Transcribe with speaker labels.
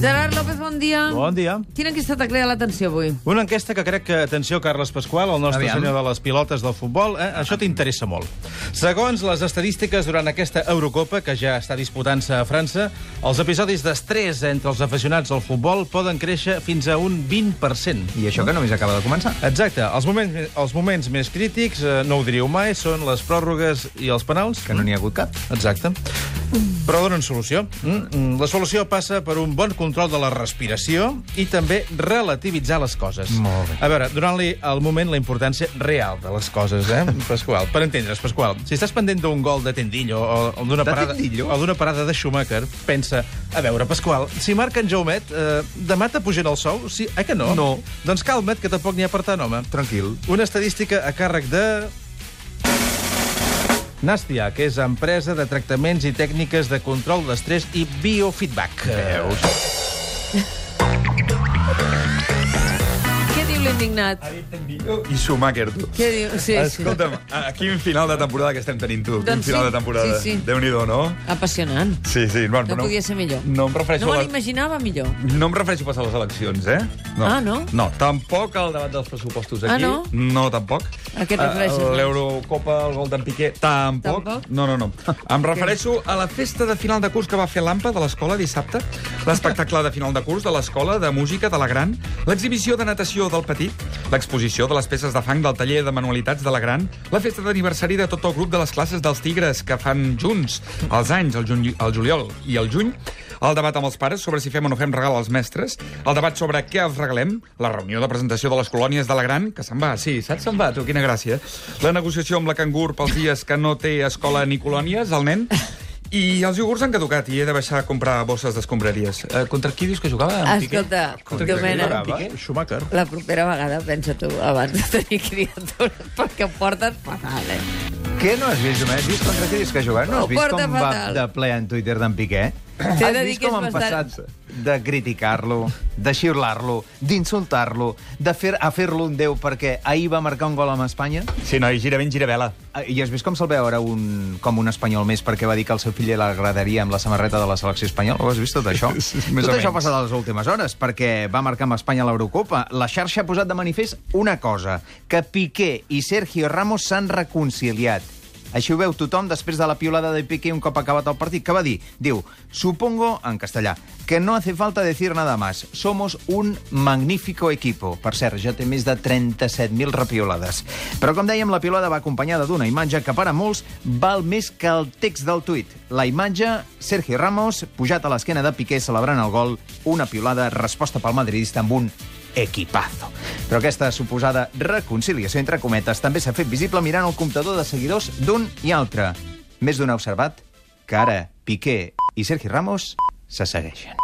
Speaker 1: Gerard López, bon dia.
Speaker 2: Bon dia.
Speaker 1: Quina enquesta t'ha creat l'atenció avui?
Speaker 2: Una enquesta que crec que, atenció, Carles Pasqual, el nostre
Speaker 3: Aviam.
Speaker 2: senyor de les pilotes del futbol, eh, això t'interessa molt. Segons les estadístiques durant aquesta Eurocopa, que ja està disputant-se a França, els episodis d'estrès entre els aficionats al futbol poden créixer fins a un 20%.
Speaker 3: I això que només acaba de començar.
Speaker 2: Exacte. Els moments, els moments més crítics, eh, no ho diríeu mai, són les pròrrogues i els penals.
Speaker 3: Que no n'hi ha hagut cap.
Speaker 2: Exacte. Però donen solució. Mm, mm. La solució passa per un bon control de la respiració i també relativitzar les coses.
Speaker 3: Molt bé.
Speaker 2: A veure, donant-li al moment la importància real de les coses, eh, Pasqual? Per entendre's, Pasqual, si estàs pendent d'un gol de Tendillo o, o d'una
Speaker 3: De
Speaker 2: parada,
Speaker 3: Tendillo?
Speaker 2: o d'una parada de Schumacher, pensa, a veure, Pasqual, si marca en Jaumet, eh, demà t'apugen el sou? Sí, eh que no?
Speaker 3: No.
Speaker 2: Doncs calma't, que tampoc n'hi ha per tant, home.
Speaker 3: Tranquil.
Speaker 2: Una estadística a càrrec de... Nàstia, que és empresa de tractaments i tècniques de control d'estrès i biofeedback. Veus?
Speaker 1: Què diu l'indignat?
Speaker 3: I Schumacher, tu.
Speaker 1: Què diu? Sí,
Speaker 3: Escolta'm, a, a quin final de temporada que estem tenint, tu? quin
Speaker 1: Doncs
Speaker 3: final
Speaker 1: sí,
Speaker 3: de temporada.
Speaker 1: sí, sí.
Speaker 3: Déu-n'hi-do, no?
Speaker 1: sí. Apassionant.
Speaker 3: Sí, sí. Bueno,
Speaker 1: No podia ser millor.
Speaker 3: No em refereixo
Speaker 1: No
Speaker 3: a
Speaker 1: me
Speaker 3: la-
Speaker 1: l'imaginava millor.
Speaker 3: No em refereixo pas a les eleccions, eh?
Speaker 1: Ah, no?
Speaker 3: No, tampoc al debat dels pressupostos
Speaker 1: Ah,
Speaker 3: aquí.
Speaker 1: no?
Speaker 3: No, tampoc.
Speaker 1: A què et refereixes?
Speaker 3: A L'Eurocopa, el gol d'en Piqué, tampoc.
Speaker 1: Tampoc?
Speaker 3: No, no, no. Em refereixo a la festa de final de curs que va fer l'AMPA de l'escola dissabte, l'espectacle de final de curs de l'escola de música de la Gran, l'exhibició de natació del Petit, l'exposició de les peces de fang del taller de manualitats de la Gran, la festa d'aniversari de tot el grup de les classes dels Tigres que fan junts els anys, el, juny, el juliol i el juny, el debat amb els pares sobre si fem o no fem regal als mestres, el debat sobre què els regalem, la reunió de presentació de les colònies de la Gran, que se'n va, sí, saps? Se'n va, tu, quina gràcia. La negociació amb la cangur pels dies que no té escola ni colònies, el nen, i els iogurts han caducat i he de baixar a comprar bosses d'escombraries. Eh, contra qui dius que jugava? en Piqué?
Speaker 1: Ah, Escolta,
Speaker 3: Contra qui
Speaker 1: Domènec.
Speaker 3: jugava?
Speaker 2: Schumacher.
Speaker 1: La propera vegada, pensa tu, abans de tenir criatures, perquè ho porten fatal, eh?
Speaker 4: Què no has vist, Domènec? Has vist contra qui dius que ha jugat? No
Speaker 1: Ho
Speaker 4: has vist
Speaker 1: Oh, porta
Speaker 4: com va
Speaker 1: fatal.
Speaker 4: de ple en Twitter d'en Piqué? Has
Speaker 1: de dir
Speaker 4: vist
Speaker 1: que
Speaker 4: com
Speaker 1: és
Speaker 4: han
Speaker 1: bastant-
Speaker 4: passat de criticar-lo, de xiular-lo, d'insultar-lo, de fer a fer-lo un déu perquè ahir va marcar un gol amb Espanya?
Speaker 3: Sí, noi, gira ben, gira vela.
Speaker 4: Ah, I has vist com se'l veu ara un, com un espanyol més perquè va dir que al seu fill li agradaria amb la samarreta de la selecció espanyola? Ho has vist tot això?
Speaker 3: Sí, sí, més
Speaker 4: tot
Speaker 3: o
Speaker 4: això ha
Speaker 3: menys.
Speaker 4: passat a les últimes hores perquè va marcar amb Espanya a l'Eurocopa. La xarxa ha posat de manifest una cosa, que Piqué i Sergio Ramos s'han reconciliat. Així ho veu tothom després de la piolada de Piqué un cop acabat el partit. Què va dir? Diu, supongo, en castellà, que no hace falta decir nada más. Somos un magnífico equipo. Per cert, ja té més de 37.000 repiolades. Però, com dèiem, la piolada va acompanyada d'una imatge que per a molts val més que el text del tuit. La imatge, Sergi Ramos, pujat a l'esquena de Piqué celebrant el gol, una piolada, resposta pel madridista amb un equipazo. Però aquesta suposada reconciliació entre cometes també s'ha fet visible mirant el comptador de seguidors d'un i altre. Més d'un ha observat que ara Piqué i Sergi Ramos se segueixen.